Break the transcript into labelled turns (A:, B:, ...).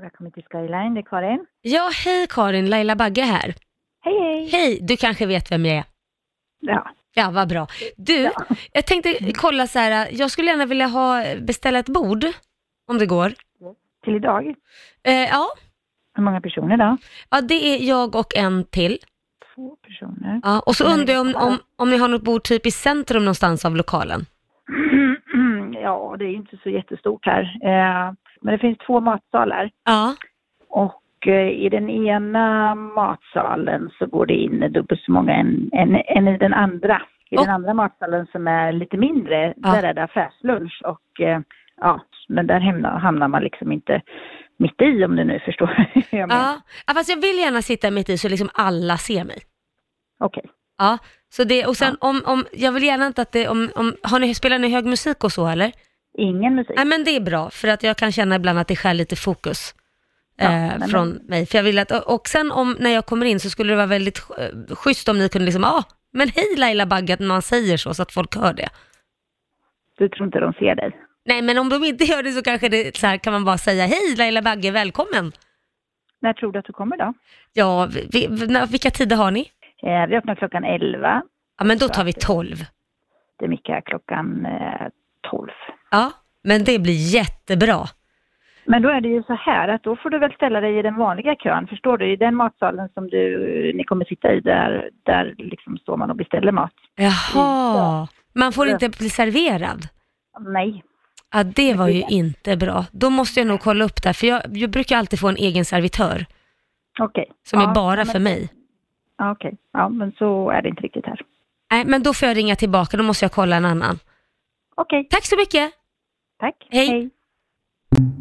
A: Välkommen till Skyline, det är Karin.
B: Ja, hej Karin, Laila Bagge här.
A: Hej, hej!
B: Hej, du kanske vet vem jag är?
A: Ja.
B: Ja, vad bra. Du, jag tänkte kolla så här, jag skulle gärna vilja ha, beställa ett bord, om det går.
A: Till idag.
B: Eh, ja.
A: Hur många personer då?
B: ja, det är jag och en till.
A: Två personer.
B: Ja, och så undrar jag om, om, om ni har något bord typ i centrum någonstans av lokalen.
A: ja, det är ju inte så jättestort här. Eh, Men det finns två matsalar.
B: Ja,
A: Och eh, i den ena matsalen så går det in dubbelt så många än, än, än i den andra. I
B: Och-
A: den andra matsalen som är lite mindre,
B: Ja.
A: där är det affärslunch och eh, ja, men där hamnar, hamnar man liksom inte mitt i om du nu förstår hur jag menar.
B: ja. ja fast jag vill gärna sitta mitt i så liksom alla ser mig.
A: Okej.
B: Ja, så det, och sen om, om, jag vill gärna inte att det, om, om, har ni, spelar ni hög musik och så eller?
A: Ingen musik.
B: Nej men det är bra, för att jag kan känna ibland att det skär lite fokus
A: Ja,
B: eh,
A: men-
B: från mig. För jag vill att, och sen om, när jag kommer in så skulle det vara väldigt eh, schysst om ni kunde liksom, ja, ah, men hej Laila Bagge, att man säger så, så att folk hör det.
A: Du tror inte de ser dig?
B: Nej men om de inte gör det så kanske det, så här, kan man bara säga, hej Laila Bagge, välkommen.
A: När tror du att du kommer då?
B: Ja, vi, vi, när- vilka tider har ni?
A: Eh, vi öppnar klockan 11.
B: Ja men då tar vi 12.
A: Det är Micke här klockan eh, 12.
B: Ja, men det blir jättebra.
A: Men då är det ju så här att då får du väl ställa dig i den vanliga kön, förstår du? I den matsalen som du, ni kommer sitta i, där, där liksom står man och beställer mat.
B: Jaha, man får
A: Ja.
B: inte bli serverad.
A: Nej.
B: Ja, det var ju inte bra. Då måste jag nog kolla upp det, här, för jag, jag brukar alltid få en egen servitör
A: Okej.
B: som
A: Ja,
B: är bara
A: men-
B: för mig.
A: Ja, Okej. Ja, men så är det inte riktigt här.
B: Nej, men då får jag ringa tillbaka, då måste jag kolla en annan.
A: Okej.
B: Tack så mycket!
A: Tack.
B: Hej.